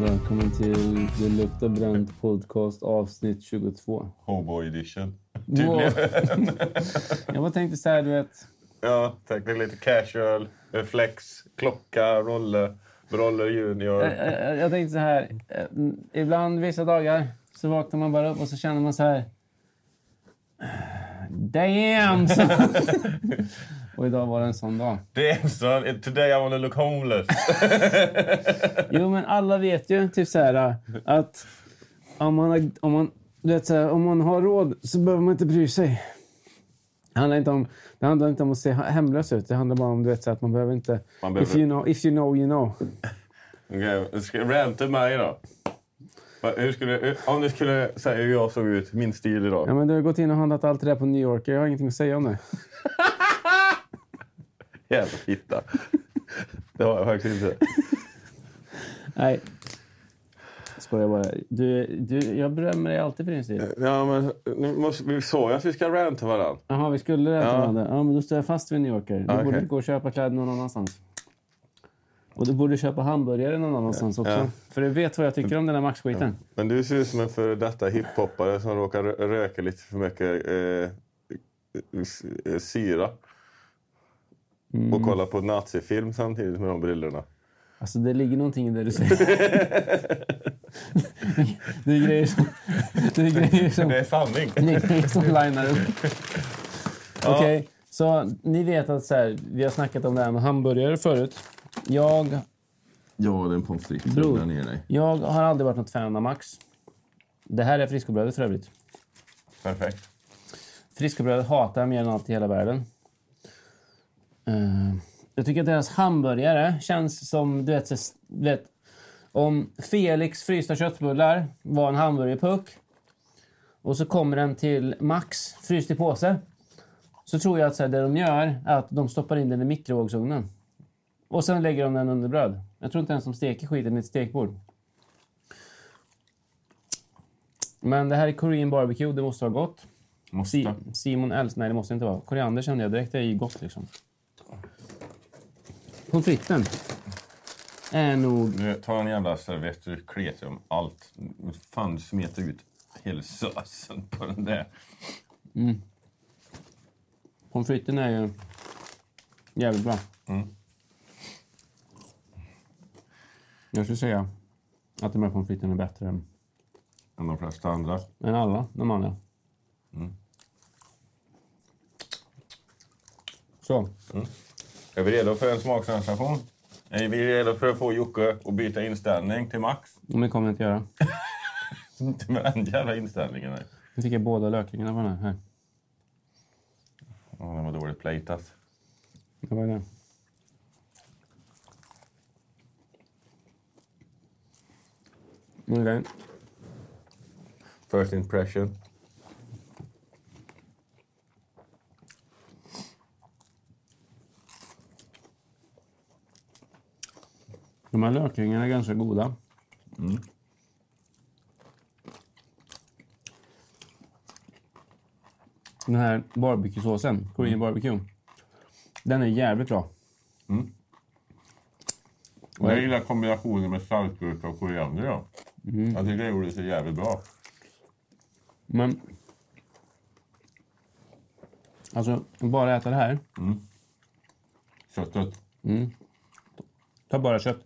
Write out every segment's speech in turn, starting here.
välkommen till Det luktar bränt podcast avsnitt 22. Hobo edition. Wow. Tydligen. Jag bara tänkte så här, du vet. ja, tack. Det är lite casual, eh, flex, klocka, rolle, roller junior. eh, eh, Jag tänkte så här. eh, m, Ibland vissa dagar så vaknar man bara upp och så känner man så här. Damn! Så. Och idag var det en sån dag. Damn son, today I wanna look homeless. Jo, men alla vet ju typ så här att om man, har- om man, du vet, så här, om man har råd så behöver man inte bry sig. Det handlar inte om, det handlar inte om att se hemlös ut. Det handlar bara om du vet, så här, att man behöver inte... Man behöver- If, you know, if you know, you know. Okej, ska- rant till mig då. Va, Hur skulle, hur- om du skulle säga hur jag såg ut, min stil idag. Ja, men du har gått in och handlat allt det där på New Yorker. Jag har ingenting att säga om det. Jävla fitta. Det har jag faktiskt inte. Nej. Skojar bara. Du, du, jag berömmer dig alltid för din stil. Ja, men nu måste, vi sa ju att vi ska ranta varandra. Jaha, vi skulle det. Ja. Ja. ja, men då står jag fast vid New Yorker. Du Ja, borde okej. gå och köpa kläder någon annanstans. Och du borde köpa hamburgare någon annanstans också. Ja. För du vet vad jag tycker om den här maxskiten. Men du ser ut som en före detta hiphoppare som råkar rö- röka lite för mycket eh, s- eh, syra. Och kolla på nazifilm samtidigt med de brillorna. Alltså, det ligger någonting i det du säger. det är grejer som... Det är grejer som... är sanning. Det är grejer som linar upp. Okej, så ni vet att så här, vi har snackat om det här med hamburgare förut. Jag Ja, den pommes frites Bror. lugnar ner dig. Jag har aldrig varit något fan av Max. Det här är friskobrödet för övrigt. Perfekt. Friskobrödet hatar jag mer än allt i hela världen. Eh, jag tycker att deras hamburgare känns som... Du vet, så- du vet, om Felix frysta köttbullar var en hamburgerpuck och så kommer den till Max fryst i påse så tror jag att så här, det de gör är att de stoppar in den i mikrovågsugnen. Och sen lägger de den under bröd. Jag tror inte ens de steker skiten i ett stekbord. Men det här är Korean barbecue, det måste vara gott. Si- Måste. Simon älskar... Nej, det måste inte vara. Koriander kände jag direkt, det är ju gott liksom. Pommes fritesen är nog... Nu tar en jävla servett och kletar om allt. Fan, du smetar ut hela såsen på den där. Pommes fritesen är ju jävligt bra. Jag skulle säga att de här pommes fritesen är bättre än, Än de flesta andra. än alla de andra. Så. Är vi redo för en smaksensation? Är vi redo för att få Jocke att byta inställning till Max? Men det kommer jag inte göra. Inte med den jävla inställningen. Nej. Nu fick jag båda lökringarna på den här. här. Ja, den var dåligt plejtat. Det var det. Okej. First impression. De här lökringarna är ganska goda. Den här barbecuesåsen, Korean barbecue, den är jävligt bra. Jag gillar kombinationen med saltgurka och koriander. Ja. Jag tycker det gjorde det så jävligt bra. Men... Alltså, bara äta det här. Köttet. Ta bara kött.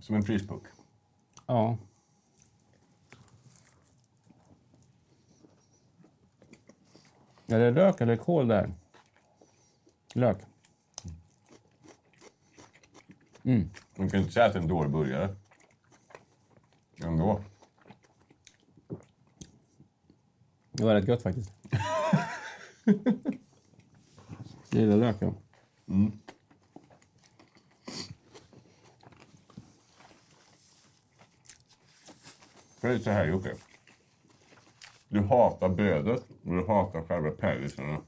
Som en prispuck. Ja. Är det lök eller kål där? Lök. Man kan inte säga att det är en dålig burgare. Ändå. Det var rätt gött faktiskt. Jag gillar lök, ja. För det är så här Jocke. Du hatar brödet och du hatar själva pärlisarna.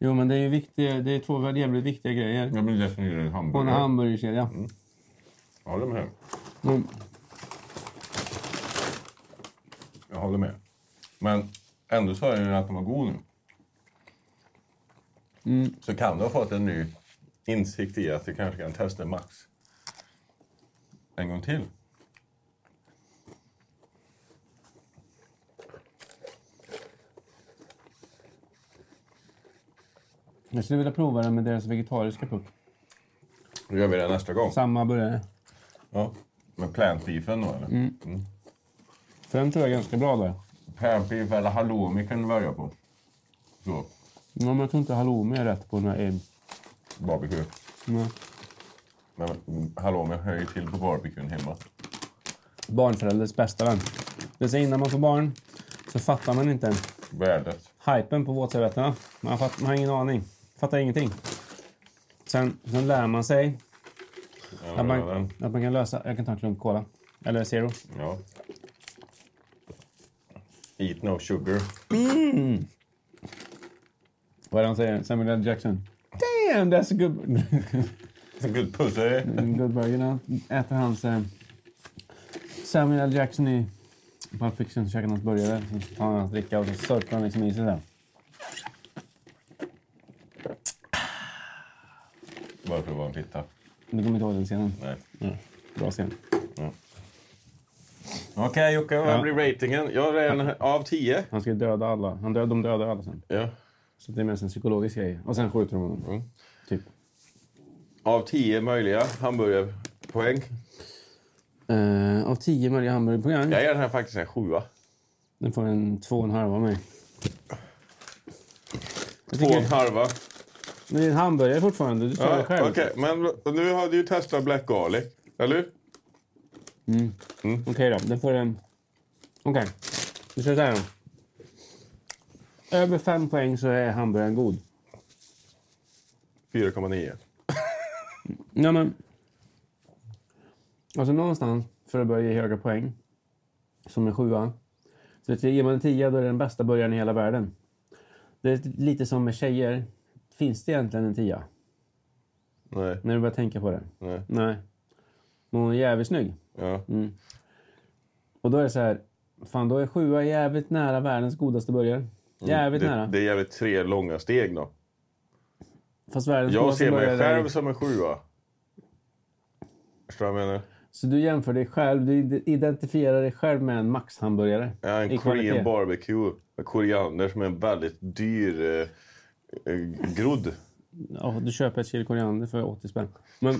Jo, men det är ju viktiga, det är två väldigt jävligt viktiga grejer Jag vill definiera en på en hamburgare. hamburgerkedja. Mm. jag håller med. Men Jag håller med. Men ändå sa jag ju att den var god nu. Så kan du ha fått en ny insikt i att du kanske kan testa Max en gång till. Jag skulle vilja prova den med deras vegetariska puck. Då gör vi det nästa gång. Samma burgare. Ja. Med plant beefen då eller? För den tror jag är ganska bra där. Plant beef eller halloumi kan du välja på. Så, Ja, men jag tror inte halloumi är rätt på den här ägg. barbecue. Nej. Men mm, halloumi hör ju till på barbecuen hemma. Barnförälders bästa vän. Det vill säga innan man får barn så fattar man inte Värdet. hypen på våtservetterna. Man, fatt, man har ingen aning. Fattar ingenting. Sen, sen lär man sig Ja, att man, den. att man kan lösa... Jag kan ta en klunk cola. Eller zero. ja. Eat no sugar. Vad är det han säger? Samuel L. Jackson. Damn, that's a good... Good pussy. good burger. Han äter hans... Eh, Samuel L. Jackson i Pulp Fiction käkar hans burgare. Så tar han hans dricka och så sörplar han liksom i sig där. Varför var en fitta? Du kommer inte ihåg den scenen? Nej. Ja, bra scen. Okej Jocke, vad blir ratingen? Jag är en av tio. Han ska ju döda alla. Han död, de dödar alla sen. Ja. Så det är mest en psykologisk grej. Och sen skjuter de honom. Mm. Typ. Av tio möjliga hamburgerpoäng. Eh, av tio möjliga hamburgerprogram. Jag ger den här faktiskt en sjua. Den får en två och en halv av mig. Jag Två och en tycker, halva. men det är en hamburgare fortfarande. Du tar Ja, det själv. Okej, men nu har du ju testat black garlic, eller hur? Okej då, den får en... Okej. Vi kör så här då. Över fem poäng så är hamburgaren god. 4,9. Nej men... Alltså någonstans, för att börja ge höga poäng, som en sjua. Så att ger man en tia, då är det den bästa början i hela världen. Det är lite som med tjejer. Finns det egentligen en tia? Nej. När du börjar tänka på det. Nej. Nej. Men hon är jävligt snygg. Ja. Och då är det så här, fan då är sjua jävligt nära världens godaste burgare. Jävligt Mm, det, nära. det är jävligt tre långa steg då. Fast världens Jag godaste ser mig burgare är- själv som en sjua. Förstår du vad jag menar? Så du jämför dig själv, du id- identifierar dig själv med en Max-hamburgare. Jag är en i kvalitet. korean barbecue. med Koriander som är en väldigt dyr eh, eh, grodd. Ja, du köper ett kilo koriander för 80 spänn. Men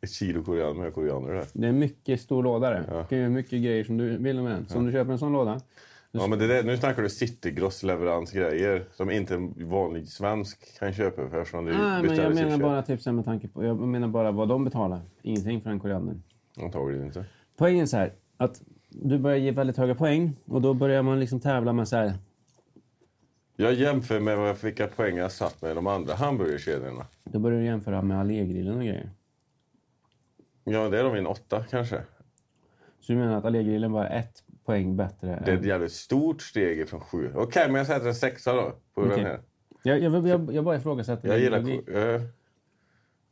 Ett kilo koriander med koriander där. det är en mycket stor låda där. Du kan göra mycket grejer som du vill med den. Så om du köper en sån låda. Ja, men det där, nu snackar du citygross-leveransgrejer som inte en vanlig svensk kan köpa för eftersom du Nej, Ah, men jag beställer menar sig bara typ så här med tanke på, jag menar bara vad de betalar. Ingenting för en koriander. själv. Antagligen inte. Poängen är så här, att du börjar ge väldigt höga poäng och då börjar man liksom tävla med så här. Jag jämför med vad- vilka poäng jag satt med de andra hamburgerkedjorna. Då börjar du jämföra med Allégrillen och grejer. Ja, det är de en åtta kanske. Så du menar att Allégrillen var ett poäng bättre? Det är än- ett jävligt stort steg från sju. Okej, men jag sätter en sexa då. På Okej. den här. Jag, jag, jag, jag bara ifrågasätter. Jag din gillar... logik. eh,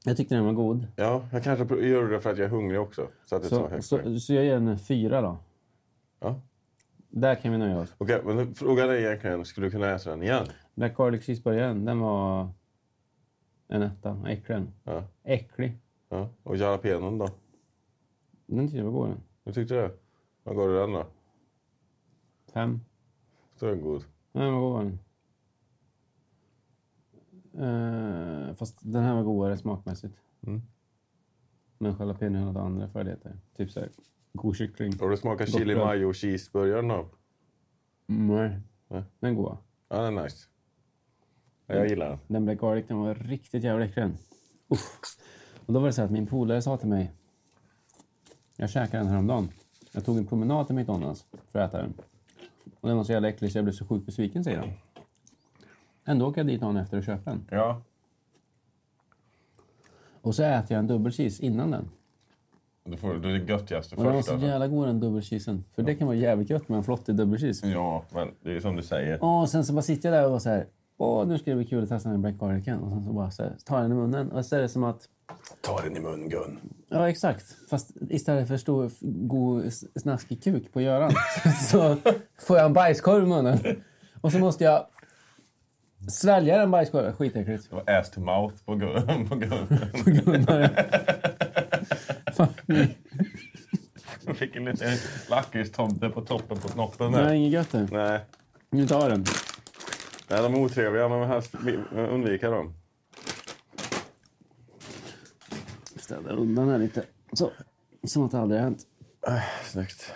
Jag tyckte den var god. ja, jag kanske pr- gör det för att jag är hungrig också. Så att det tar Så, högt poäng. så, så jag ger den en fyra då. Ja. Där kan vi nöja oss. Okej, men frågan är egentligen, skulle du kunna äta den igen? Black garlic cheeseburgaren, den var en etta. Äcklig. den. Ja. Äcklig. ja. Och jalapenon då? Den tyckte jag var god. den. Hur tyckte du? Vad gav du den då? Fem. Så är den god. Den var god var den. Eh, fast den här var godare smakmässigt. Mm. Men jalapeno hade andra fördelar. Typ såhär god kyckling. Har du smakat Gott chili bröd. mayo cheeseburgaren då? Nej. Nej. Den är god. Ja, den är nice. Ja, jag gillar den. Den black garlic, den var riktigt jävla äcklig. den. Uff. Och då var det så här att min polare sa till mig. Jag käkade den häromdagen. Jag tog en promenad till McDonalds för att äta den. Och den var så jävla äcklig så jag blev så sjukt besviken, säger han. Ändå åker jag dit dagen efter och köper den. Ja. Och så äter jag en dubbel cheese innan den. Du får du det göttigaste Och den var först. så alltså. jävla god den dubbelcheesen. För det kan vara jävligt gött med en flottig dubbelcheese. Ja, men det är som du säger. Och sen så bara sitter jag där och var så här. Åh, nu ska det bli kul att testa den här black garlicen. Och sen så bara så här, tar jag den i munnen. Och så är det som att Ta den i mun, Gun. Ja, exakt. Fast istället för stor, f- god s- snaskig kuk på Göran så får jag en bajskorv i munnen. Och så måste jag Svälja den bajskorven. Skitäckligt. Det var ass to mouth på gu- på gurkan. Jag fick en liten lakritstomte på toppen på snoppen där. Det är Nej. inget gött det. Nej. Nu tar den. Nej, de är otrevliga. Man vill helst undvika dem. Städa undan här lite. Så. Som att det aldrig har hänt. Snyggt.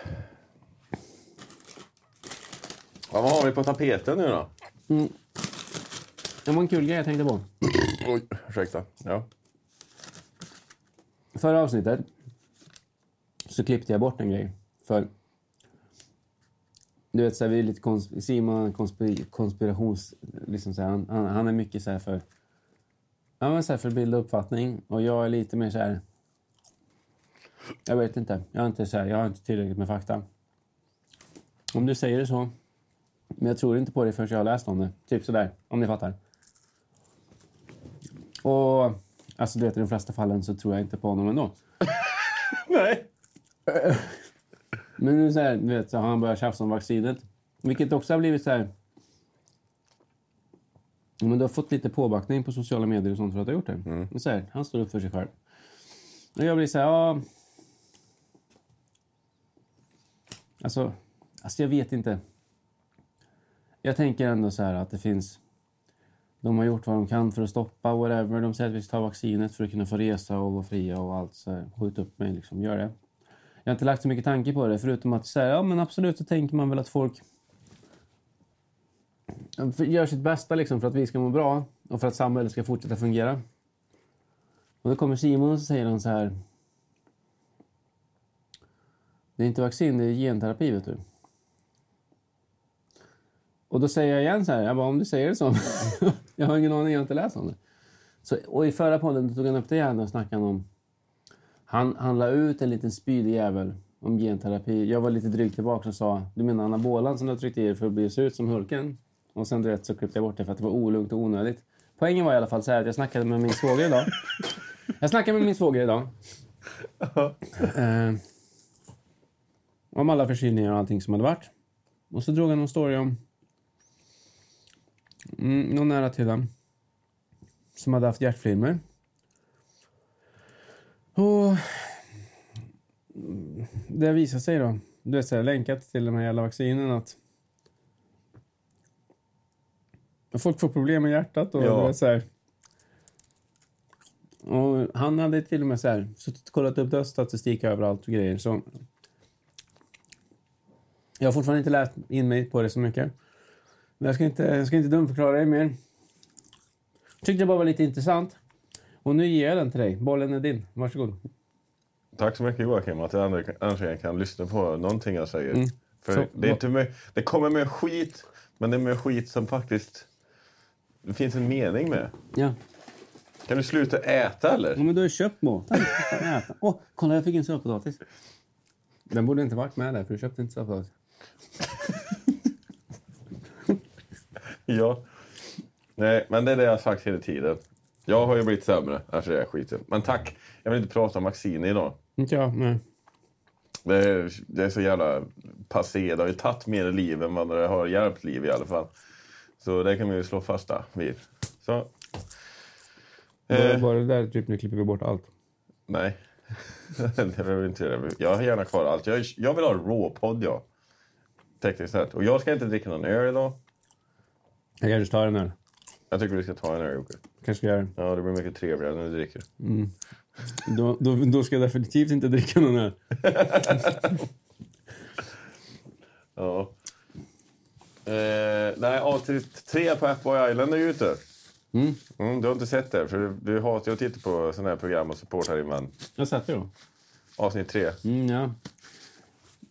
Ja, vad har vi på tapeten nu då? Det var en kul grej jag tänkte på. Oj, ursäkta. Ja. Förra avsnittet så klippte jag bort en grej. För du vet, så här, vi är lite kons- Simon konspir- konspirations... Liksom så här, han, han, han är mycket så här för... Ja, men så här för att bilda uppfattning. Och jag är lite mer så här... Jag vet inte. Jag, är inte så här, jag har inte tillräckligt med fakta. Om du säger det så. Men jag tror inte på det förrän jag har läst om det. Typ sådär, om ni fattar. Och alltså, du vet, i de flesta fallen så tror jag inte på honom ändå. Nej. Men nu så här, du vet, så har han börjat tjafsa om vaccinet. Vilket också har blivit så här... Ja, Men du har fått lite påbackning på sociala medier och sånt för att du har gjort det. Men Så här, han står upp för sig själv. Och jag blir så här, ja... Alltså, alltså jag vet inte. Jag tänker ändå så här att det finns... De har gjort vad de kan för att stoppa whatever. De säger att vi ska ta vaccinet för att kunna få resa och vara fria och allt. Så här, skjut upp mig liksom, gör det. Jag har inte lagt så mycket tanke på det, förutom att så här, ja men absolut så tänker man väl att folk gör sitt bästa liksom för att vi ska må bra och för att samhället ska fortsätta fungera. Och då kommer Simon och så säger han så här. Det är inte vaccin, det är genterapi vet du. Och då säger jag igen så här, jag bara om du säger det så. jag har ingen aning, jag har inte läst om det. Så, och i förra podden tog han upp det igen och snackade om han, han la ut en liten spydig jävel om genterapi. Jag var lite dryg tillbaka och sa du menar anabolan som du har tryckt i er för att bli- se ut som Hulken? Och sen du vet, så klippte jag bort det för att det var olugnt och onödigt. Poängen var i alla fall så här att jag snackade med min svåger idag. Jag snackade med min svåger idag. eh, om alla förkylningar och allting som hade varit. Och så drog han någon story om mm, någon nära till dem som hade haft hjärtflimmer. Och mm, det visar sig då, det är så här länkat till de här jävla vaccinen att folk får problem med hjärtat och Ja. det är så här. Och han hade till och med så här, suttit och kollat upp dödsstatistik överallt och grejer. Så jag har fortfarande inte lärt in mig på det så mycket. Men jag ska inte, jag ska inte dumförklara dig mer. Tyckte det bara var lite intressant. Och nu ger jag den till dig. Bollen är din. Varsågod. Tack så mycket Joakim att jag ändå- äntligen kan lyssna på någonting jag säger. För Så- det, är inte med, det kommer med skit, men det är med skit som faktiskt... Det finns en mening med. Ja. Kan du sluta äta eller? ja men du har ju köpt må. Tack. Fan, äta. Åh, kolla jag fick en sötpotatis. Den borde inte varit med där för du köpte inte sötpotatis. Ja. Nej, men det är det jag har sagt hela tiden. Jag har ju blivit sämre. Alltså det är skiten. Men tack. Jag vill inte prata om vacciner idag. Inte jag. Nej. Det är, det är så jävla passé. Det har ju tagit mer liv än vad det har hjälpt liv i alla fall. Så det kan vi ju slå fast där vid. Så. Bara, Eh, bara det där typ nu klipper vi bort allt. nej. det behöver vi inte göra. Jag har gärna kvar allt. Jag, jag vill ha en råpodd, jag. Tekniskt sett. Och jag ska inte dricka någon öl idag. Jag kanske tar den här. Jag tycker vi ska ta en öl, Jocke. Kanske ska jag göra det. Ja, det blir mycket trevligare när du dricker. Då, då, då ska jag definitivt inte dricka någon här. Ja. Eh, nej, avsnitt tre på Apple Island är ju ute. Mm, du har inte sett det, för du, du hatar ju att titta på sådana här program och supportar din vän. Jag satt ju då. Avsnitt tre. Mm, ja.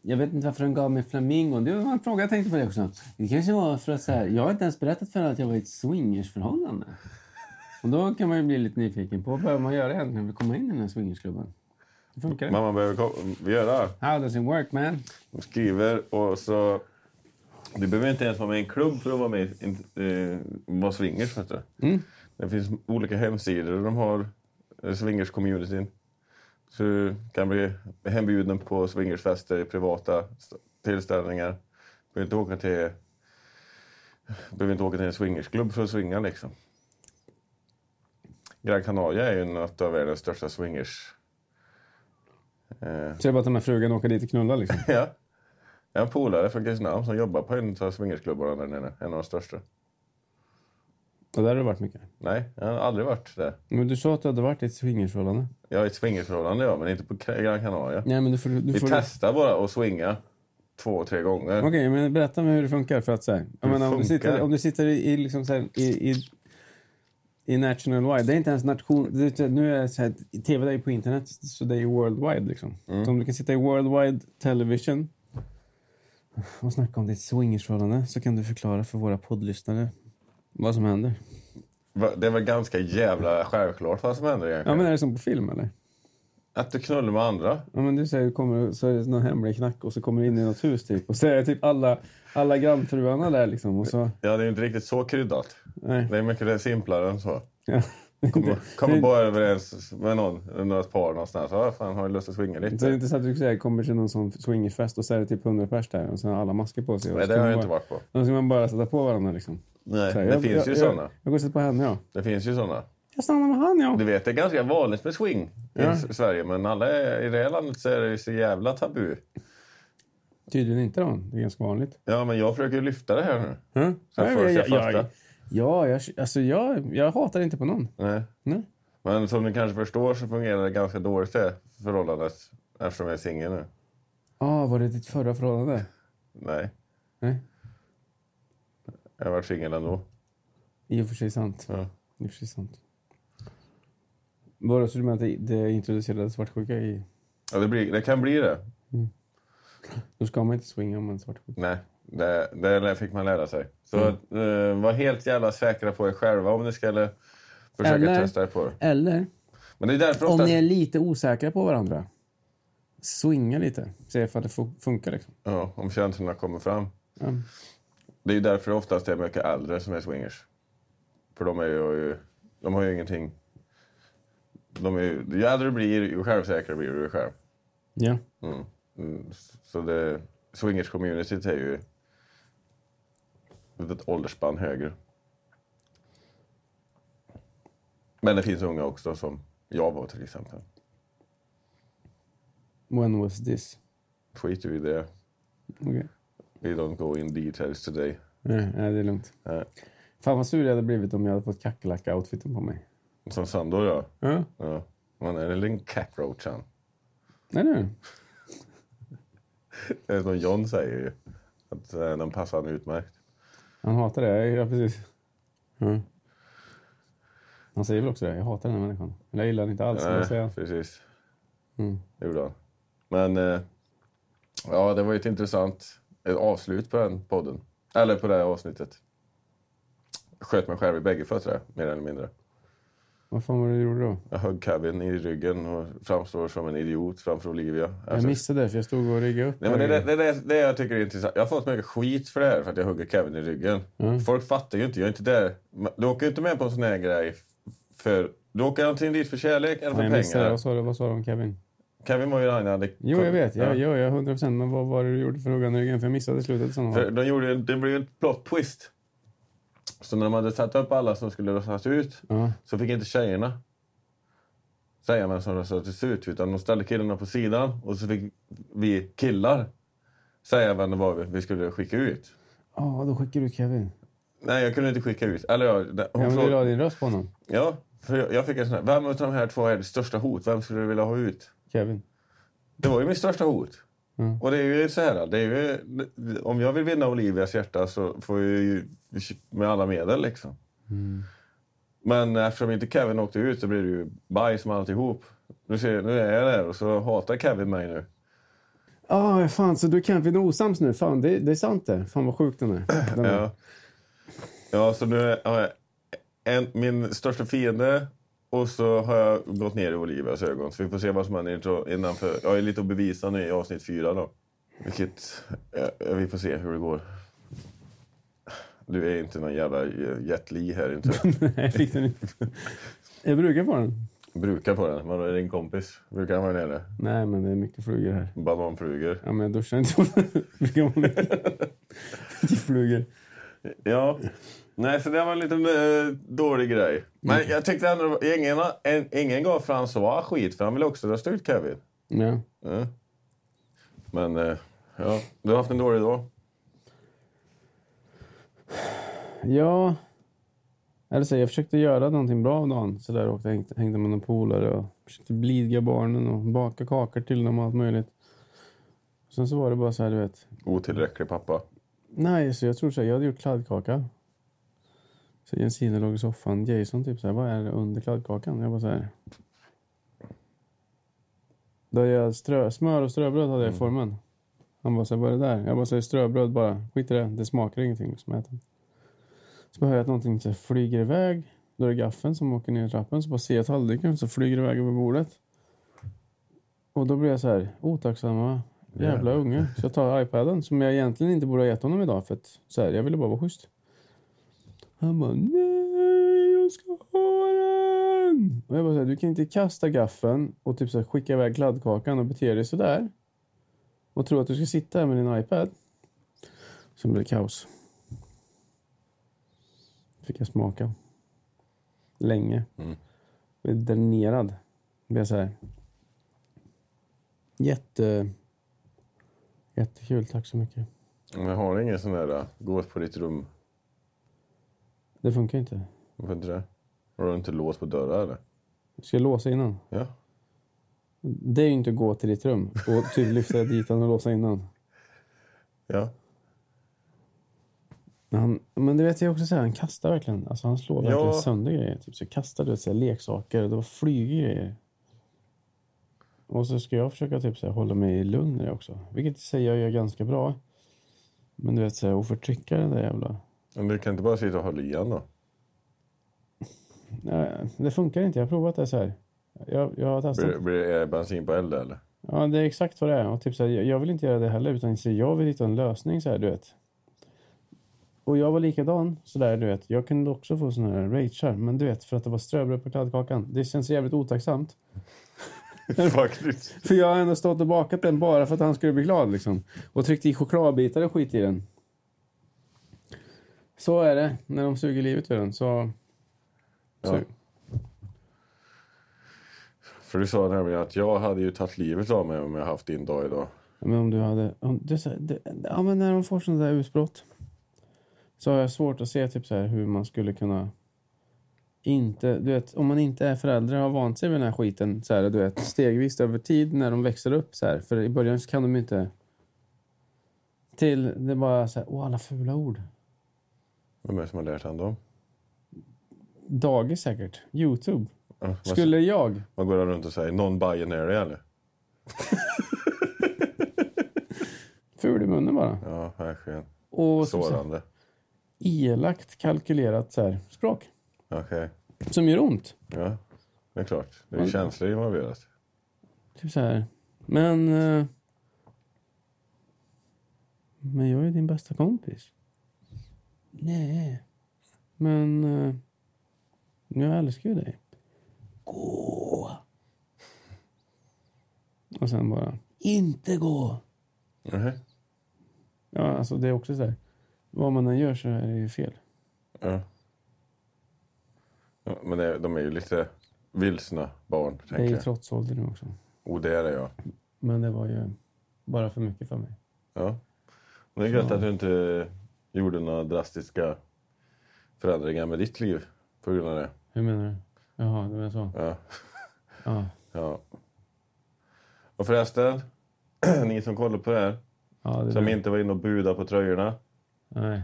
Jag vet inte varför den gav mig flamingon. Det var en fråga jag tänkte på det också. Det kanske var för att så här, jag har inte ens berättat för henne att jag var i ett swingersförhållande. Och då kan man ju bli lite nyfiken på vad behöver man göra egentligen för att komma in i den här swingersklubben? Hur funkar det? Mamma behöver ko- göra. How does it work man? Hon skriver och så... Du behöver inte ens vara med i en klubb för att vara med i in- eh, vara swingers. Vet du. Det finns olika hemsidor de har, eh, swingers-communityn. Så du kan bli hembjuden på swingersfester, privata st- tillställningar. Du behöver inte åka till Behöver inte åka till en swingersklubb för att swinga liksom. Gran Canaria är ju en av världens största swingers. Eh, Så jag bara ta med frugan och åka dit och knulla liksom. ja. Jag har en polare från Kristinehamn som jobbar på en av swingersklubbarna där nere. En av de största. Ja, där har du varit mycket. Nej, jag har aldrig varit där. Men du sa att du hade varit i ett swingersförhållande. Jag är i ett swingersförhållande ja, men inte på Gran Canaria. Nej, men du får... Du Mm. Vi Mm. får testar bara att swinga två, tre gånger. Okej, men berätta mig hur det funkar. För att, så här, jag Hur menar, om, du funkar? sitter, om du sitter i, i liksom, så här, i, i, i national wide. Det är inte ens nation... Det, är inte- nu är det så här, tv det är på internet, så det är ju worldwide. Liksom. Mm. Så om du kan sitta i worldwide television och snacka om ditt swingersförhållande så kan du förklara för våra poddlyssnare vad som händer. Va- Det var ganska jävla självklart vad som händer Ja, egentligen. men är det som på film, eller? Att du knullar med andra. Ja, men du säger kommer, så är det någon hemlig knack och så kommer du in i något hus typ. Och så är det typ alla, alla grannfruarna där liksom. Och så, Ja, det är ju inte riktigt så kryddat. nej. Det är mycket simplare än så. Ja. Kommer, kommer bara överens med någon, några par någonstans. Ja, fan, har du lust att swinga Så det är lite? inte så att du säger, kommer till någon sån swingersfest och så är det typ 100 pers där och sen har alla masker på sig. Och Nej, så det har man jag inte bara- varit på. Då ska man bara sätta på varandra liksom. Nej, Så här, det jag- finns jag- ju jag- sådana. Jag går och sätter på henne, ja. Det finns ju sådana. Jag stannar med han, ja. Du vet, det är ganska vanligt med swing i Ja. S- Sverige. Men alla är, i det här landet så är det ju så jävla tabu. Tydligen inte då. Det är ganska vanligt. Ja, men jag försöker lyfta det här nu. Mm. Så Ja, först jag, jag jag, fattar. ja, jag, alltså jag, jag hatar inte på någon. Nej. Nej. Men som ni kanske förstår så fungerar det ganska dåligt det förhållandet. Eftersom jag är singel nu. Ah, var det ditt förra förhållande? Nej, Nej, jag har varit singel ändå. i och för sig sant. Ja. I och för sig sant. Var det så du menar att det- det introducerades svartsjuka i... Ja, det, blir, det kan bli det. Då ska man inte swinga om man är svartsjuk. Nej, det, det lä- fick man lära sig. Så Mm. eh, var helt jävla säkra på er själva om ni skulle försöka Eller- testa er på det. Eller? Men det är därför Om ofta... ni är lite osäkra på varandra, swinga lite. Se ifall det fu- funkar. Liksom. Ja, om känslorna kommer fram. Ja. Det är ju därför det oftast är mycket äldre som är swingers. För de, är ju, de har ju ingenting... De är ju, ju äldre du blir, ju självsäkrare blir du själv. Ja. Mm. Mm. Så det, swingers-communityt är ju ett åldersspann högre. Men det finns unga också, som jag var till exempel. When was this? Skiter vi i det. Okej. We don't go in details today. Nej, nej, det är lugnt. Nej. Fan vad sur jag hade blivit om jag hade fått kackerlacka-outfiten på mig. Som Sandor, ja. Ja. ja. Man är en liten cockroach, han. Nej, nej. Det är Eh, som John säger ju. Att eh, den passar han utmärkt. Han hatar det. Ja, precis. Ja. Han säger väl också det. Jag hatar den här människan. Eller jag gillar den inte alls. men vad säger Nej, han? precis. Mm. Det gjorde han. Men eh, ja, det var ju ett intressant ett avslut på den podden. Eller på det här avsnittet. Sköt mig själv i bägge fötterna, mer eller mindre. Vad fan var det du gjorde då? Jag högg Kevin i ryggen och framstår som en idiot framför Olivia. Jag Alltså, missade det för jag stod och riggade upp. Nej, men det, det, det, det, det jag tycker är intressant. Jag har fått mycket skit för det här, för att jag hugger Kevin i ryggen. Mm. Folk fattar ju inte. Jag är inte där. Men Du åker ju inte med på en sån här grej. För, du åker antingen dit för kärlek eller Nej, jag för missade det. pengar. Vad sa du, vad sa du om Kevin? Kevin var ju han jag hade... Jo, jag vet. Ja. Jag, jag, jag 100 procent. Men vad var det du gjorde för att hugga den i ryggen? För jag missade slutet. i sådana fall. För de gjorde, ju- det blev ju en plot twist. Så när de hade satt upp alla som skulle röstas ut Ja. så fick inte tjejerna säga vem som röstades ut utan de ställde killarna på sidan och så fick vi killar säga vem det var vi- vi skulle skicka ut. Ja, då skickar du Kevin. Nej, jag kunde inte skicka ut. Eller jag, det- hon Ja, men du frågade- la din röst på honom. ja, för jag, jag fick en sån här. Vem av de här två är det största hot? Vem skulle du vilja ha ut? Kevin. Det var ju mitt största hot. Mm. Och det är ju så här, det är ju, om jag vill vinna Olivias hjärta så får jag ju med alla medel liksom. Mm. Men eftersom inte Kevin åkte ut så blir det ju bajs med alltihop. Nu, ser, nu är jag där och så hatar Kevin mig nu. Ja, fan. Så du är Kevin osams nu? Fan, det, det är sant det. Fan vad sjukt den är. Den är. Ja. ja, så nu har jag en, min största fiende och så har jag gått ner i Olivias ögon. Så vi får se vad som händer intro- innanför. Jag är lite att bevisa nu i avsnitt fyra då. Vilket, ja, vi får se hur det går. Du är inte någon jävla eh, Jet Li här inte. Nej, jag fick den inte. Jag brukar få den. Brukar på den. Man är din kompis. Brukar han vara nere? Nej, men det är mycket flugor här. Bananflugor. Ja, men jag duschar inte. Brukar vara mycket. Mycket flugor. Ja. Nej, så det var en liten eh, dålig grej. Men jag tyckte ändå... Ingen, en, ingen gav François skit, för han ville också rösta ut Kevin. Ja. Ja. Eh. Men eh, ja, du har haft en dålig dag. ja. Eller så, jag försökte göra någonting bra av dagen. Så där åkte, hängde, hängde med någon polare och försökte blidga barnen och baka kakor till dem och allt möjligt. Sen så var det bara så här, du vet. Otillräcklig pappa. Nej, så jag tror så här, jag hade gjort kladdkaka. Så Jensina låg i soffan. Jason typ så här, vad är det under kladdkakan? Jag bara så här. Då hade jag strö, smör och ströbröd hade jag i formen. Han bara så här, vad är det där? Jag bara så här, ströbröd bara. Skit i det, det smakar ingenting. Liksom, ät den. Så bara hör jag att någonting så här, flyger iväg. Då är det gaffeln som åker ner i trappen. Så bara ser jag tallriken så flyger det iväg över bordet. Och då blir jag så här, otacksamma jävla unge. Så jag tar iPaden som jag egentligen inte borde ha gett honom idag. För att, så här, jag ville bara vara schysst. Han bara nej, jag ska ha den. Och jag bara så här, du kan inte kasta gaffen och typ så här, skicka iväg kladdkakan och bete dig så där. Och tro att du ska sitta här med din iPad. Sen blev det kaos. Fick jag smaka. Länge. Mm. Blev dränerad. Blev så här. Jätte... Jättekul, tack så mycket. Men jag har ingen sån där eh, gås på ditt rum. Det funkar inte. Varför inte det? Har du inte lås på dörrar eller? Ska jag låsa innan? Ja. Det är ju inte att gå till ditt rum och typ lyfta dit honom och låsa innan. Ja. Men, han, men det vet jag också, så här, han kastar verkligen. Alltså han slår verkligen Ja. sönder grejer. Typ, så kastar du så här, leksaker och det var flyger grejer. Och så ska jag försöka typ, så här, hålla mig lugn i det också. Vilket i sig jag gör ganska bra. Men du vet, så här, att förtrycka den där jävla... Men du kan inte bara sitta och hålla i han då? Nej, det funkar inte. Jag har provat det så här. Jag, jag har testat. Blir, blir det eh, bensin på eld eller? Ja, det är exakt vad det är. Och typ så här, jag- jag vill inte göra det heller, utan så jag vill hitta en lösning så här, du vet. Och jag var likadan så där, du vet. Jag kunde också få såna här ragear, men du vet, för att det var ströbröd på kladdkakan. Det känns jävligt otacksamt. Faktiskt. För jag har ändå stått och bakat den bara för att han skulle bli glad liksom. Och tryckt i chokladbitar och skit i den. Så är det när de suger livet ur den. Så... Ja. så För du sa nämligen att jag hade ju tagit livet av mig om jag haft din dag idag. Ja, Men om du hade... Om, det, är så här- det, ja, men när de får sådana där utbrott så har jag svårt att se typ så här, hur man skulle kunna... Inte, du vet, om man inte är förälder och har vant sig vid den här skiten så här, du vet, stegvis över tid när de växer upp. Så här, för i början så kan de ju inte... Till det är bara så här, åh alla fula ord. Vem är det som har lärt han dem? Dagis säkert. Youtube. Ja, Eh, vad- Skulle jag... Vad går han runt och säger? Non-binary eller? Ful i munnen bara. Ja, verkligen. Och så, så här, Sårande. elakt kalkylerat så här, språk. Okej. Som gör ont. Ja, det är klart. Det är ju känslor involverat. Typ så här. Men... eh, Men jag är din bästa kompis. Nej. Men... eh, Jag älskar ju dig. Gå! Och sen bara... Inte gå! Mhm. Ja, alltså det är också så här. Vad man än gör så är det ju fel. Ja. Ja, Men det, de är ju lite vilsna barn, Det är tänker ju jag. trotsålder nu också. Och det är det, ja. Men det var ju bara för mycket för mig. ja. Men det är gött att du inte gjorde några drastiska förändringar med ditt liv på grund av det. Hur menar du? Jaha, det var så. Ja. Ja. ja. Och förresten, ni som kollar på det här, ja det som var- inte var inne och budade på tröjorna, Nej.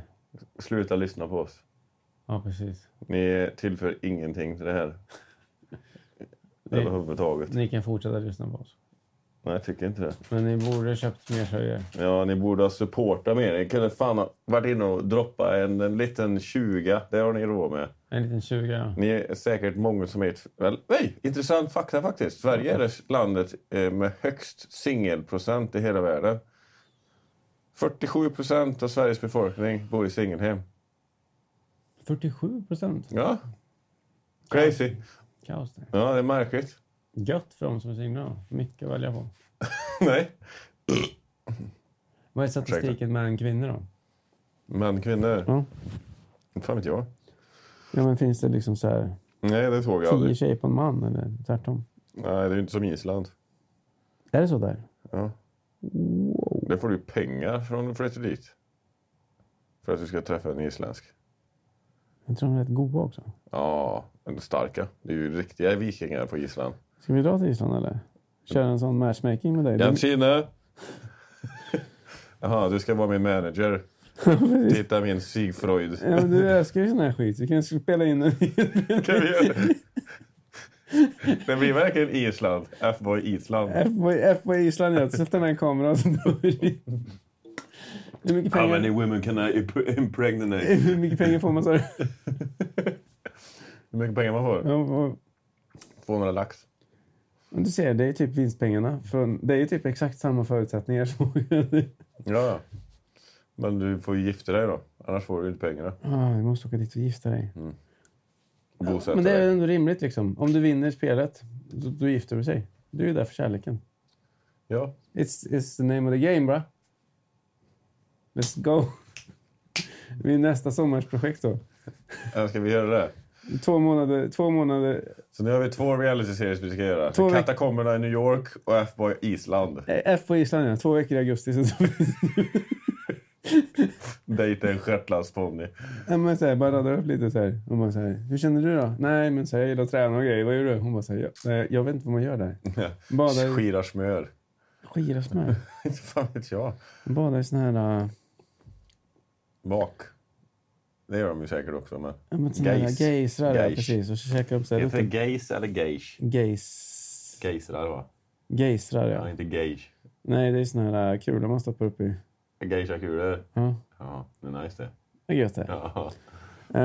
sluta lyssna på oss. Ja, precis. Ni tillför ingenting till det här. Nej. Överhuvudtaget. Ni kan fortsätta lyssna på oss. Nej, jag tycker inte det. Men ni borde köpt mer tröjor. Ja, ni borde ha supportat mer. Ni kunde fan ha varit inne och droppa en, en liten 20. Det har ni råd med. En liten 20. ja. Ni är säkert många som är... ett- Väl, nej, intressant fakta faktiskt. Sverige är det landet eh, med högst singelprocent i hela världen. 47 procent av Sveriges befolkning bor i singelhem. 47 procent. Ja. Crazy. Kaos det. Ja, det är märkligt. Gött för de som är singlar. Mycket att välja på. nej. Vad är statistiken mellan kvinnor då? Män, kvinnor? Ja. Fan vet jag. Ja, men finns det liksom så här Nej, det såg jag tio aldrig. tjejer på en man eller tvärtom? Nej, det är ju inte som Island. Är det så där? Ja. Där får du ju pengar från du flyttar dit. För att du ska träffa en isländsk. Jag tror de är rätt goda också. Ja, men starka. Det är ju riktiga vikingar på Island. Ska vi dra till Island eller? Köra en sån matchmaking med dig? Du- Jantine! Jaha, du ska vara min manager. Precis. Titta min Sigfröjd. Ja, men du älskar ju sån här skit. Vi kan spela in en... Kan vi göra det? Det blir verkligen Island. F-boy Äh, Island. FB Island, jag sätter med en kamera och så drar vi dit. Hur mycket How pengar, many women can I imp- impregnate? hur mycket pengar får man så? Hur mycket pengar man får? Ja, vad- 200 lax. Men du ser, det är typ vinstpengarna. Från, det är ju typ exakt samma förutsättningar som... Ja, ja. Men du får ju gifta dig då. Annars får du inte pengarna. ah, du måste åka dit och gifta dig. Bosätta Men det är dig. ändå rimligt liksom. Om du vinner spelet, då, då gifter du sig. Du är ju där för kärleken. Ja. It's, it's the name of the game, bra. Let's go. Det är nästa sommarsprojekt då. Ja, Äh, Ska vi göra det? Två månader, två månader. Så nu har vi två reality-serier som vi ska göra. Två veck- Katakomberna i New York och F-boy Island. eh, F på Island, ja. Två veckor i augusti. Så Dejta en shetlandsponny. Nej, men så här, bara radar upp lite så här. Hon bara så här, hur känner du då? Nej, men så här, jag gillar att träna och grejer. Vad gör du? Hon bara så här, "Ja, nej, jag vet inte vad man gör där. Badar i Skirar smör. skira smör. Inte fan vet jag. Badar i sån här, äh, Bak. Det gör de ju säkert också. Men... ja, men sån här Geis. gejsrar. ja, Geis. Precis, och så käkar de så här Heter det lite gays eller geish? gejs... Gejsrar va? Gejsrar, Ja, ja. inte geish. Nej, det är sån här äh, kulor man stoppar upp i. Geisha-kulor. Ja, Ja, det är nice det. det är gött det. Ja. Eh,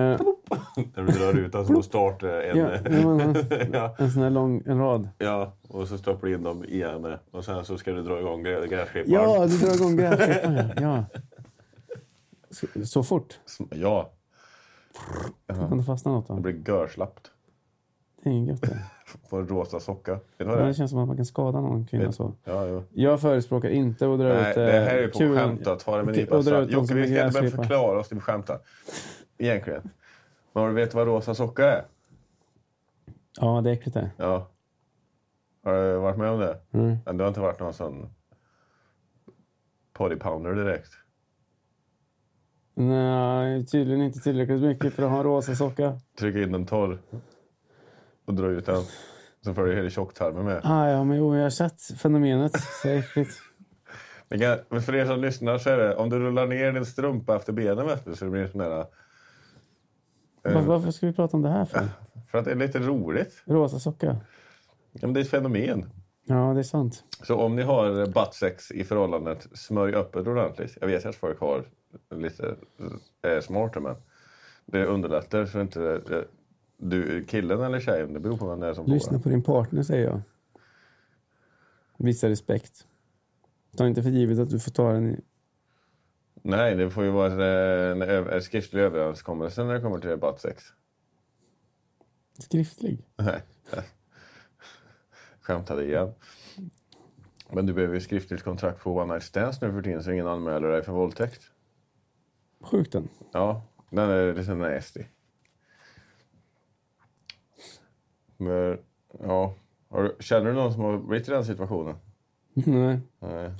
När du drar ut den som att starta en... ja, men en, ja, en sån här lång en rad. ja, och så stoppar du in dem i henne. Och sen så ska du dra igång grä- gräsklipparen. Ja, du drar igång gräsklipparen. ja. Ja. Så, så fort. Sm- ja, Kan det fastna något det då? blir görslappt. Det är inget gött det. På en rosa socka. Vet du vad Men det det är? känns som att man kan skada någon kvinna så. Ja, jo. Jag förespråkar inte att dra Nej, ut det eh, här är ju på kulan. skämt att ta det med en Okej, nypa och dra ut salt. dem Jocke, som vi en ska inte börja gräsklippa. förklara oss, vi skämtar. Egentligen. Men har du vet vad rosa socka är? Ja, det är äckligt det. Ja. Har du varit med om det? Mm. Men du har inte varit någon sån potty pounder direkt? Nej, tydligen inte tillräckligt mycket för att ha en rosa socka. Trycka in den torr och dra ut den. Så följer hela tjocktarmen med. Ah, ja, men jo, jag har sett fenomenet. Så äckligt. Men kan- Men för er som lyssnar så är det, om du rullar ner din strumpa efter benen vet du, så det blir sån där... Eh. Var, varför ska vi prata om det här för? För att det är lite roligt. Rosa socka. Ja, men det är ett fenomen. Ja, det är sant. Så om ni har buttsex i förhållandet, smörj öppet ordentligt. Jag vet att folk har lite är smarta men det underlättar så inte det, du killen eller tjejen, det beror på vem det är som Lyssna får på din partner, säger jag. Visa respekt. Ta inte för givet att du får ta den i... den. Nej, det får ju vara eh, en, ö- en skriftlig överenskommelse när det kommer till buttsex. skriftlig. Nej. Skämtade igen. Men du behöver ju skriftligt kontrakt på one night stands nu för tiden så ingen anmäler dig för våldtäkt. Sjukt den. Ja, den är lite nasty. Men, ja. Har du, känner du någon som har blivit i den situationen? Nej. Nej.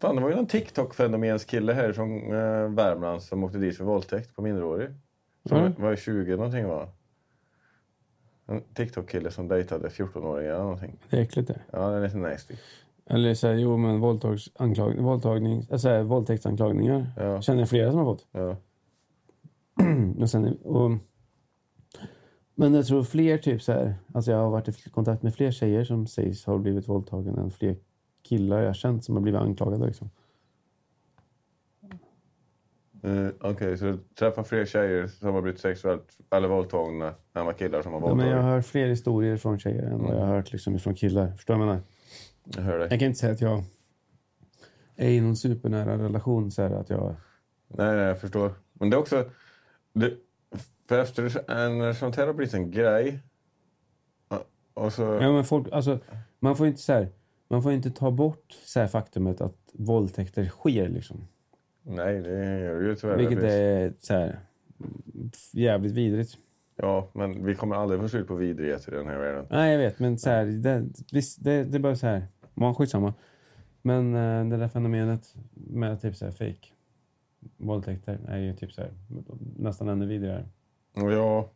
Fan, det var ju någon TikTok-fenomenskille här från eh, Värmland som åkte dit för våldtäkt på minderårig. Som Mm. var 20 någonting va? En TikTok-kille som dejtade 14-åringar eller någonting. Det är äckligt det. Ja, det är lite nasty. Eller så här, jo men våldtagsanklag... våldtagning... alltså, här, våldtäktsanklagningar. Ja. Känner jag flera som har fått. Ja. Och sen, och, men jag tror fler typ så här, alltså jag har varit i kontakt med fler tjejer som sägs ha blivit våldtagna än fler killar jag har känt som har blivit anklagade. Liksom. Eh, Okej, så du träffar fler tjejer som har blivit sexuellt eller våldtagna än vad killar som har Ja, våldtagit? men jag hör fler historier från tjejer än vad jag har hört liksom, från killar. Förstår du vad jag menar? jag hör dig. Jag kan inte säga att jag är i någon supernära relation. Så här, att jag, Nej, nej, jag förstår. Men det är också... Det, för efter en sånt här har blivit en grej... ja, Och så... ja, men folk, alltså, man får ju inte, så här, man får ju inte ta bort så här, faktumet att våldtäkter sker. Liksom. Nej, det gör det ju tyvärr. Vilket Det är finns- så här, jävligt vidrigt. Ja, men vi kommer aldrig få slut på vidrigheter i den här världen. Nej, jag vet, men så här, det, visst, det, det är bara så här. Man skitsamma. Men eh, det där fenomenet med typ så här fake våldtäkter är ju typ så här, nästan ännu vidrigare. Och Ja,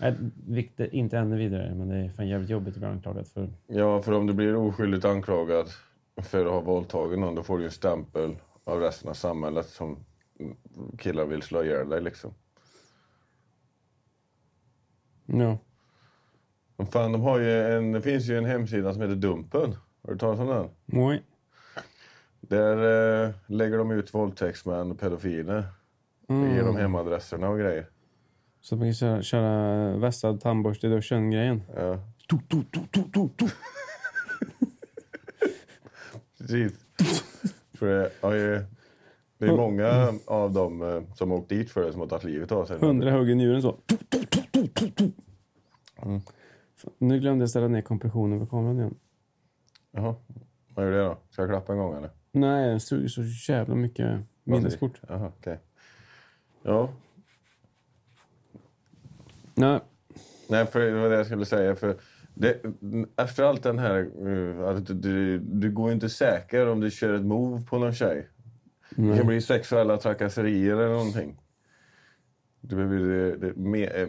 Nej, vilket är inte ännu vidrigare, men det är fan jävligt jobbigt att bli anklagad för. ja, för om du blir oskyldigt anklagad för att ha våldtagit någon, då får du ju en stämpel av resten av samhället som killar vill slå ihjäl dig liksom. Ja. Men Fan, de har ju en, det finns ju en hemsida som heter Dumpen. Har du talat om den? Oj. Där eh, lägger de ut våldtäktsmän och pedofiler. Mm. Ger dem hemadresserna och grejer. Så man kan köra, köra vässad tandborste i duschen-grejen. Ja, Tu, tu, tu, tu, tu, tu. precis. För det, ja, ju- det är många av dem eh, som har åkt dit för det som har tagit livet av sig. Hundra hugg i njuren så. Tu, tu, tu, tu, tu, tu. Fan, Nu glömde jag ställa ner kompressionen på kameran igen. Jaha. Vad gör det då? Ska jag klappa en gång eller? Nej, den suger så jävla mycket minneskort. Jaha, okej. Ja. Nej. Nej, för det var det jag skulle säga. För det, efter allt den här... eh, Att du, du, du går ju inte säker om du kör ett move på någon tjej. Det kan bli sexuella trakasserier eller någonting. Du behöver ju det, det, med, eh,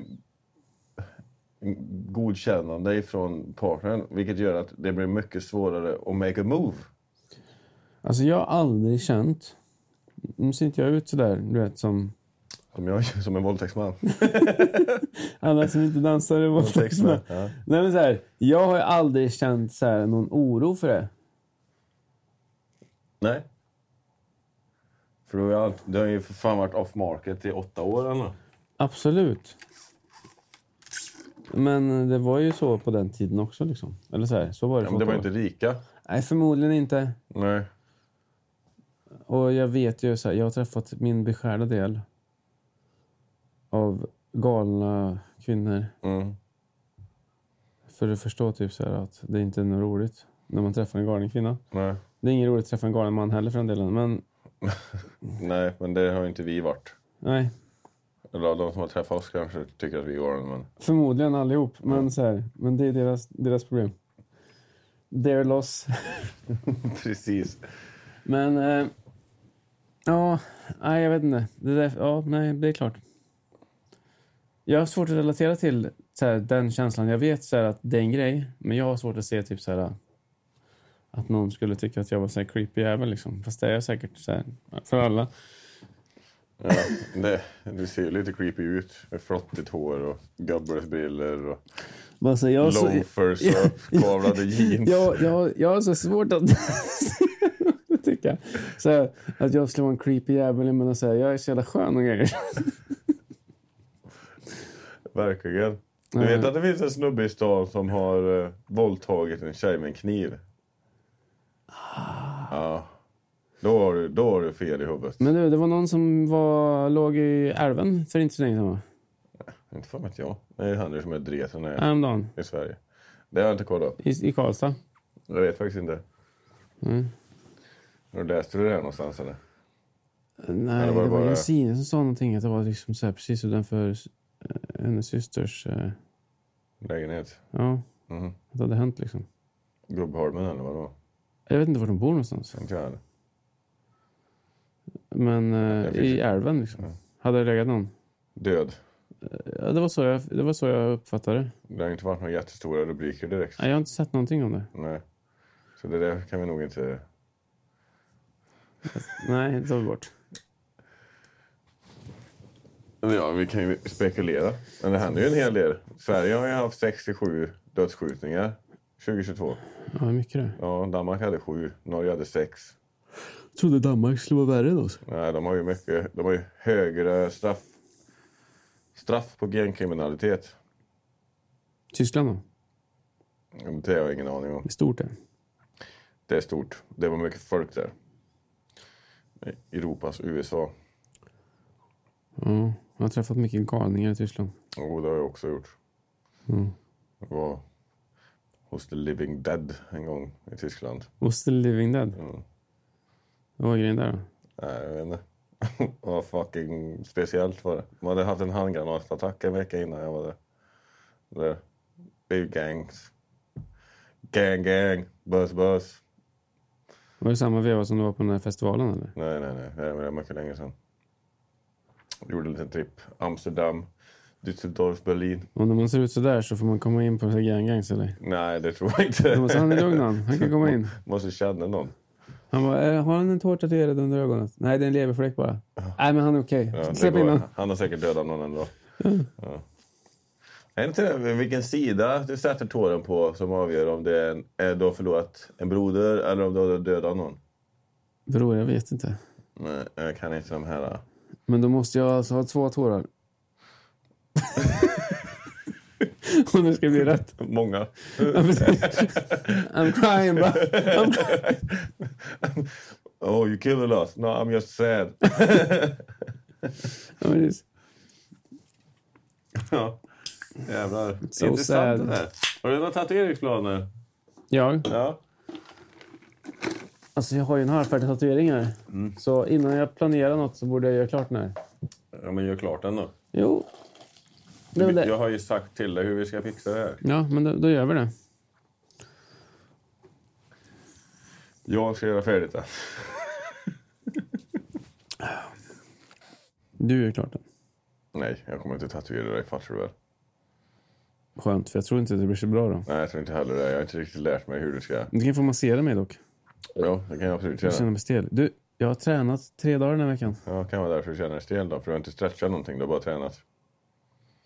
godkännande ifrån partnern vilket gör att det blir mycket svårare att make a move. Alltså jag har aldrig känt... Nu ser inte jag ut sådär, du vet som... Som jag gör som en våldtäktsman. Alla som inte dansar i Våldtäktsmän, våldtäktsmän. ja. Nej men såhär, jag har ju aldrig känt så här, någon oro för det. Nej. För du har, ju allt- du har ju för fan varit off market i åtta år eller nåt. Absolut. Men det var ju så på den tiden också liksom. Eller så här, så var det. Ja, för men det var åtta inte år. rika. Nej, förmodligen inte. Nej. Och jag vet ju så här, jag har träffat min beskärda del av galna kvinnor. Mm. För att förstå typ så här att det inte är något roligt när man träffar en galen kvinna. Nej. Det är inget roligt att träffa en galen man heller för den delen. Men Nej, men det har ju inte vi varit. nej, Eller de som har träffat oss kanske tycker att vi går den, men... förmodligen allihop. Men, så här, men det är deras, deras problem. Their loss. Precis. Men eh, ja, nej, jag vet inte. Det, där, ja, nej, det är klart. Jag har svårt att relatera till så här, den känslan. Jag vet så här, att det är en grej, men jag har svårt att se typ så här, att någon skulle tycka att jag var så här creepy jävel. Liksom. Fast det är jag säkert så här, för alla. Ja, det, det ser ju lite creepy ut. Med flottigt hår och gubbresbrillor och Men alltså, jag, har så, loafers och kavlade jeans. jag, jag, jag har så svårt att tycka så här, att jag skulle vara en creepy jävel. Men så här, jag är så jävla skön och grejer. Verkligen. Du Nej. vet att det finns en snubbe i stan som har uh, våldtagit en tjej med en kniv? Ja. Då har, du, då har du fel i huvudet. Ah. Men du, det var någon som var, låg i älven för inte så länge sedan va? Inte fan vet jag. Det är han som är dreten här Häromdagen. i Sverige. Det har jag inte kollat upp. I, I Karlstad. Jag vet faktiskt inte. Mm. Har du läst du det här någonstans eller? Nej, det det var var, bara- Jensine som sa någonting. Att det var liksom så här, precis utanför eh, hennes systers... eh, Lägenhet? Ja, Mm. att det hade hänt liksom. Gubbholmen eller vad det var? Jag vet inte var de bor någonstans. Inte jag heller. Men eh, finns i ju- älven liksom. Ja. Hade det legat någon? Död. Ja, det, var så jag, det var så jag uppfattade det. Det har inte varit några jättestora rubriker direkt. Nej, Jag har inte sett någonting om det. Nej. Så det där kan vi nog inte... Nej, det tar vi bort. Ja, vi kan ju spekulera. Men det händer ju en hel del. Sverige har ju haft 67 dödsskjutningar 2022. Ja, hur mycket det? Ja, Danmark hade sju, Norge hade sex. Jag trodde Danmark skulle vara värre än oss. Nej, de har ju mycket... De har ju högre straff... Straff på gängkriminalitet. Tyskland då? Det har jag ingen aning om. Det är stort det. Det är stort. Det var mycket folk där. Europas USA. Ja, jag har träffat mycket galningar i Tyskland. Och det har jag också gjort. Mm. Jag var hos The Living Dead en gång i Tyskland. Och Still Living Dead. Mm. Vad var grejen där då? Nej, jag vet inte. var fucking speciellt var det. De hade haft en handgranatattack en vecka innan jag var där. där. Det är ju gangs. Gang, gang. Buzz, buzz. Var det samma veva som du var på den här festivalen eller? Nej, nej, nej. Det var mycket länge sedan. Vi gjorde en liten tripp. Amsterdam, Düsseldorf, Berlin. Om man ser ut sådär så får man komma in på så här ganggangs eller? Nej, det tror jag Då måste- Han är lugn inte. han. Han kan komma in. Måste känna någon. Han bara, "Eh, har han en tår tatuerad under ögonen? Nej, det är en leverfläck bara. Nej, men han är okej. Ja, det Släpp in går. honom. Mm. Han har säkert dödat någon ändå. Ja. Är det inte det, vilken sida du sätter tåren på som avgör om det är en, är du har förlorat en broder eller om du har dödat någon? Bror, jag vet inte. Nej, jag kan inte de här. Men då måste jag alltså ha två tårar. Om det ska bli rätt. Många. Ja, precis. I'm crying bro. I'm crying. Oh, you killed us. No, I'm just sad. Ja, precis. ja. Jävlar. So Intressant sad. det där. Har du några tatueringsplaner? Jag, Ja. alltså jag har ju en halvfärdig tatuering här. Så innan jag planerar något så borde jag göra klart den här. ja, men gör klart den då. Jo. Det är väl Jag det. har ju sagt till dig hur vi ska fixa det här. Ja, men då, då gör vi det. Jag ska göra färdigt det. Du gör klart den. Nej, jag kommer inte tatuera dig, fattar du väl? Skönt, för jag tror inte det blir så bra då. Nej, jag tror inte heller det. Jag har inte riktigt lärt mig hur du ska... Du kan få massera mig dock. Ja, det kan jag absolut Jag känner göra. mig stel. Du, jag har tränat tre dagar den här veckan. Ja, det kan vara därför du känner dig stel då. För du har inte stretchat någonting, du har bara tränat.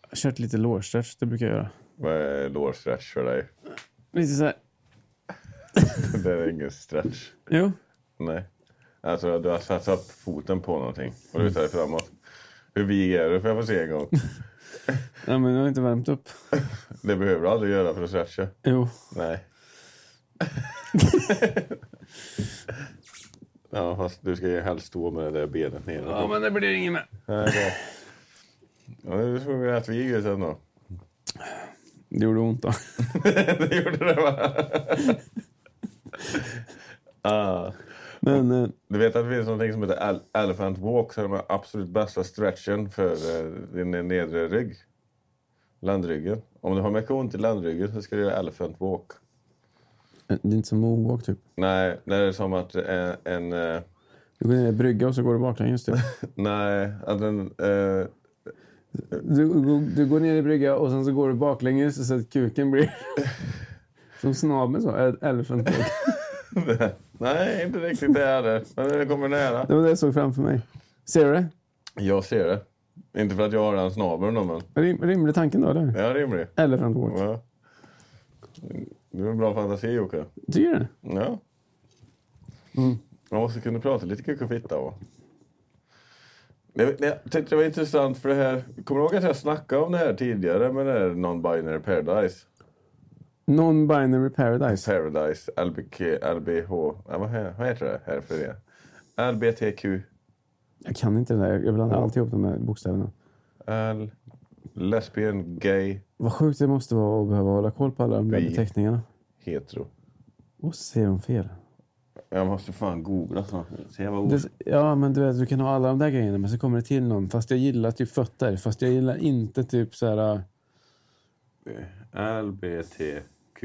Jag har kört lite lårstretch, det brukar jag göra. Vad är lårstretch för dig? Lite så här. Det är ingen stretch. Jo. Nej. Alltså, du har satt foten på någonting och lutar dig framåt. Hur vig är du? Får jag få se en gång? Ja, men jag har inte värmt upp. Det behöver du aldrig göra för att stretcha. Jo. Nej. ja, fast du ska ju helst stå med det där benet neråt. Ja, men det blir inget med. Nej, det... Ja, det såg vi rätt vig ut ändå. Det gjorde ont då. det gjorde det va? ah. Men eh, Du vet att det finns någonting som heter el- elephant walk som är den absolut bästa stretchen för eh, din nedre rygg. Landryggen. Om du har mycket ont i landryggen så ska du göra elephant walk. det är inte som moonwalk typ. Nej, det är som att en... en eh, Du går ner i en brygga och så går du baklänges typ. nej, att en... Eh, Du, du, du går ner i brygga och sen så går du baklänges så att kuken blir... Som snabeln så. Ett elephant walk. nej, inte riktigt det heller. Men det kommer nära. Det var det jag såg framför mig. Ser du det? Jag ser det. Inte för att jag har den snabeln då, men Rim, rimlig tanken då, eller? det är rimligt. Elephant walk. Ja. Du har en bra fantasi, Jocke. Tycker du det? Ja. Man måste kunna prata lite kuk och fitta. Va? Det, det, jag tyckte det var intressant för det här. Kommer du ihåg att jag snackade om det här tidigare med det här Non-Binary Paradise? Non-binary paradise. Paradise, LBK, LBH, ja, vad, he- vad heter det här för det? LBTQ, Jag kan inte det där. Jag blandar alltid ihop de här bokstäverna. L, lesbian, gay, Vad sjukt det måste vara att behöva hålla koll på alla de där Vi. beteckningarna. hetero. Och så säger de fel. Jag måste fan googla snart. Se vad Det, ja, men du vet, du kan ha alla de där grejerna, men så kommer det till någon. Fast jag gillar typ fötter. Fast jag gillar inte typ så här... LBTQ.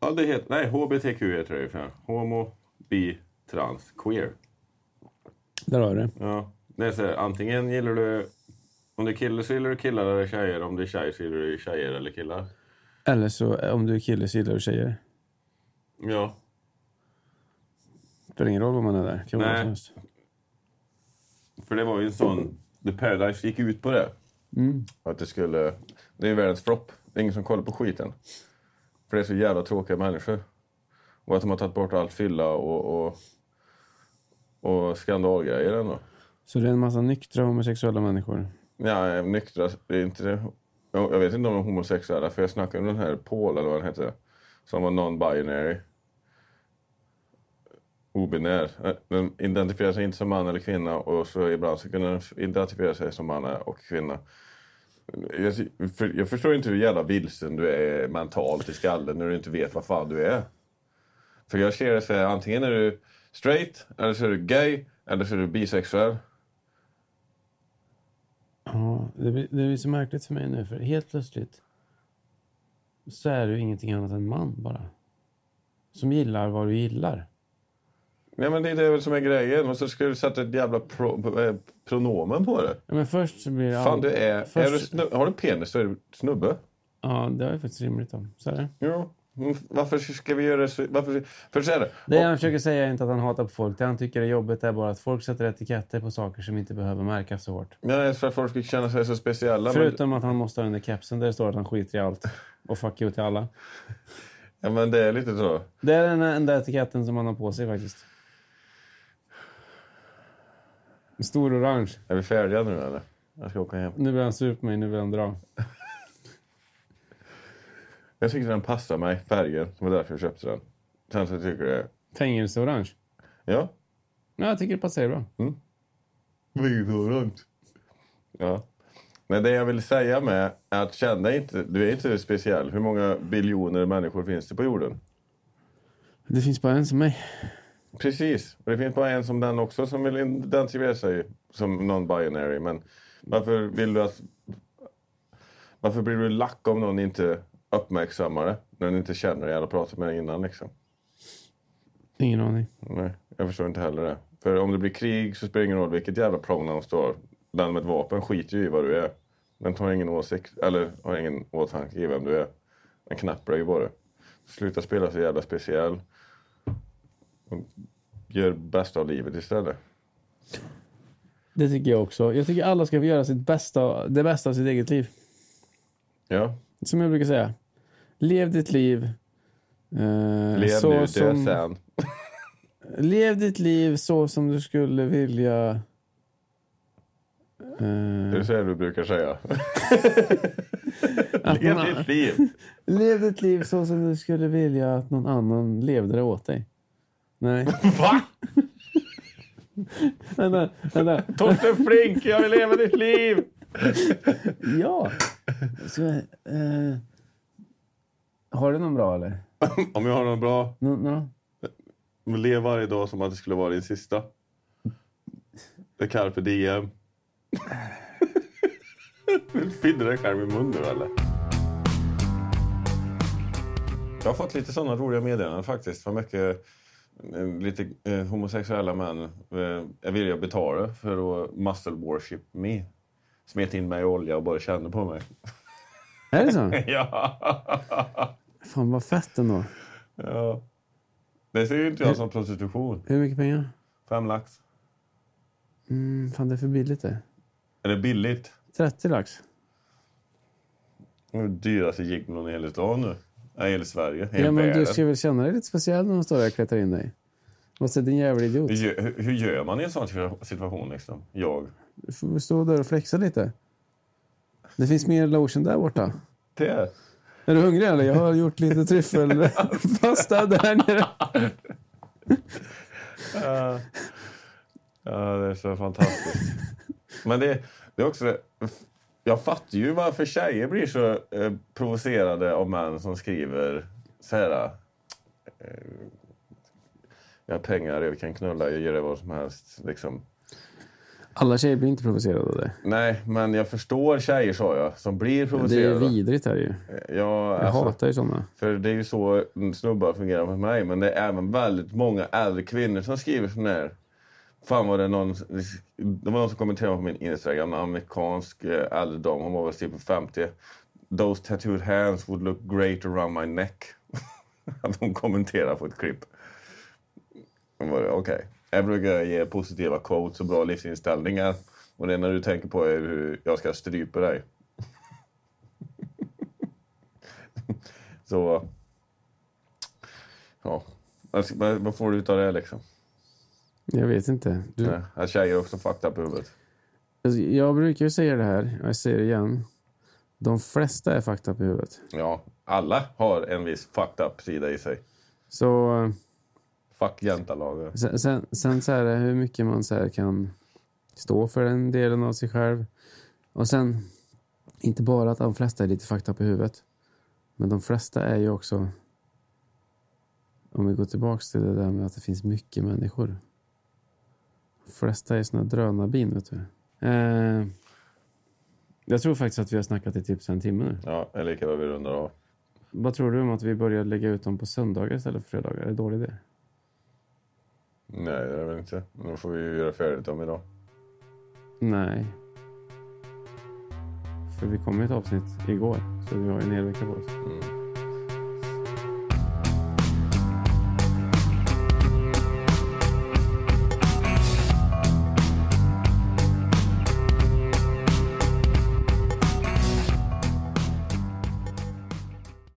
Ja, det heter, nej, HBTQ heter det ju. för fan. Homo, bi, trans, queer. Där har du det. Ja, det är så här, antingen gillar du... Om du är kille så gillar du killar eller tjejer. Om du är tjej så gillar du tjejer eller killar. Eller så eh, om du är kille så gillar du tjejer. Ja. Det spelar ingen roll vad man är där. Kan vara Nej. vad som helst. För det var ju en sån... The Paradise gick ut på det. Att det skulle... Det är ju världens flopp. Det är ingen som kollar på skiten. För det är så jävla tråkiga människor. Och att de har tagit bort allt fylla och, och, och skandalgrejer ändå. Så det är en massa nyktra homosexuella människor. Ja, nyktra, det är inte det. Jag jag vet inte om de är homosexuella, för jag snackade med den här Paul, eller vad han heter, som var non-binary. Obinär. Eh, Den identifierar sig inte som man eller kvinna och så ibland så kunde den identifiera sig som man och kvinna. Jag, för- jag förstår inte hur jävla vilsen du är mentalt i skallen när du inte vet vad fan du är. För jag ser det så här, antingen är du straight, eller så är du gay, Eller så är du bisexuell. Ja, det, blir, det blir så märkligt för mig nu, för helt plötsligt så är du ingenting annat än man bara. Som gillar vad du gillar. Nej, men det är det väl som är grejen. Och så ska du sätta ett jävla pro, eh, pronomen på det. Ja, men först så blir det... Fan, du är... är du först- snu, har du penis så är du snubbe. Ja, det har jag faktiskt rimligt om. Så är det. Jo. Men Varför ska vi göra det så? Varför, för så är det. Det han försöker säga är inte att han hatar på folk. Det han tycker är jobbigt är bara att folk sätter etiketter på saker som inte behöver märkas så hårt. Nej, för att folk ska känna sig så speciella. Men, Förutom att han måste ha den där kepsen där det står att han skiter i allt. Och fuck you till alla. ja, men det är lite så. Det är den enda etiketten som han har på sig faktiskt. En Stor orange. Är vi färdiga nu eller? Jag ska åka hem. Nu blir han sur på mig, nu vill han dra. Jag tyckte den passade mig, färgen. Det var därför jag köpte den. Sen så tycker jag... Fängelseorange. Ja. Ja, jag tycker det passar bra. Vinrönt. Ja. Men det jag vill säga med är att känn dig inte... Du är inte speciell. Hur många biljoner människor finns det på jorden? Det finns bara en som mig. Precis. Och det finns bara en som den också som vill identifiera sig som non-binary. Men varför vill du att... Varför blir du lack om någon inte uppmärksammar det? När den inte känner dig eller pratar med dig innan liksom. Ingen aning. Nej, jag förstår inte heller det. För om det blir krig så spelar det ingen roll vilket jävla pronoun står. Den med ett vapen skiter ju i vad du är. Den tar ingen åsikt, eller har ingen åtanke i vem du är. Den knappar ju bara. Sluta spela så jävla speciell. Och gör bästa av livet istället. Det tycker jag också. Jag tycker alla ska få göra sitt bästa, det bästa av sitt eget liv. Ja, Som jag brukar säga. Lev ditt liv. eh, lev så nu, dö som- sen. Lev ditt liv så som du skulle vilja... eh, Det är så du brukar säga. att Lev någon annan- ditt liv! Lev ditt liv så som du skulle vilja att någon annan levde det åt dig. Nej, Va? vänta, vänta. Torsten Flink, jag vill leva ditt liv! Ja! Så, eh, har du någon bra eller? Om jag har något bra, Nå, nå? lev varje dag som att det skulle vara din sista. Det är carpe diem. Du fiddlar dig själv i munnen eller? Jag har fått lite sådana roliga meddelanden faktiskt. För mycket eh, lite eh, homosexuella män eh, är villiga att betala för att muscle worship me. Smet in mig i olja och bara kände på mig. Är det så? ja. Fan vad fett ändå. ja. Det ser ju inte jag som prostitution. Hur mycket pengar? Fem lax. Mm, fan det är för billigt det. Är det billigt? 30 lax. Det är den dyraste jignon i hela stan nu. Nej, hela Sverige. Hela Ja, men världen. du ska väl känna dig lite speciell när de står där och kletar in dig. Och säger din jävla idiot. hur, gör- hur- hur gör man i en sån situation? Liksom? Jag. Du får väl stå där och flexa lite. Det finns mer lotion där borta. Det. Är du hungrig eller? Jag har gjort lite tryffelpasta där nere. Ja. ja, det är så fantastiskt. men det, det är också... det- Jag fattar ju varför tjejer blir så eh, provocerade av män som skriver så här... Eh, jag har pengar, jag kan knulla, jag gör det vad som helst. Liksom. Alla tjejer blir inte provocerade av det. Nej, men jag förstår tjejer, sa jag, som blir Det är provocerade. vidrigt är det ju. Ja, Jag alltså, hatar ju sådana. för det är ju så mm, snubbar fungerar för mig. Men det är även väldigt många äldre kvinnor som skriver sån här. Fan var det någon... Det var någon som kommenterade på min Instagram. En amerikansk eh, äldre dam. Hon var väl typ 50. Those tattooed hands would look great around my neck. Att hon kommenterar på ett klipp. Då var det Okej. Jag brukar ge positiva quotes och bra livsinställningar. Och det enda du tänker på är hur jag ska strypa dig. Så... Ja. Alltså, Vad vad får du ut av det liksom? Jag vet inte. Du, Nej, Att tjejer är också fucked up i huvudet. alltså, jag brukar ju säga det här, och jag säger det igen. De flesta är fucked up i huvudet. Ja, alla har en viss fucked up sida i sig. Så eh, Fuck jantalagen. sen, sen, sen så här, hur mycket man så här kan stå för den delen av sig själv. Och sen, inte bara att de flesta är lite fucked up i huvudet. Men de flesta är ju också, om vi går tillbaks till det där med att det finns mycket människor. flesta är såna drönarbin, vet du. Eh, jag tror faktiskt att vi har snackat i typ en timme nu. Ja, eller lika bra vi rundar av. Vad tror du om att vi börjar lägga ut dem på söndagar istället för fredagar? Är det dålig idé? Nej, det är det väl inte. Då får vi ju göra färdigt om idag. Nej. För vi kom ju ett avsnitt igår, så vi har ju en hel vecka på oss. Mm.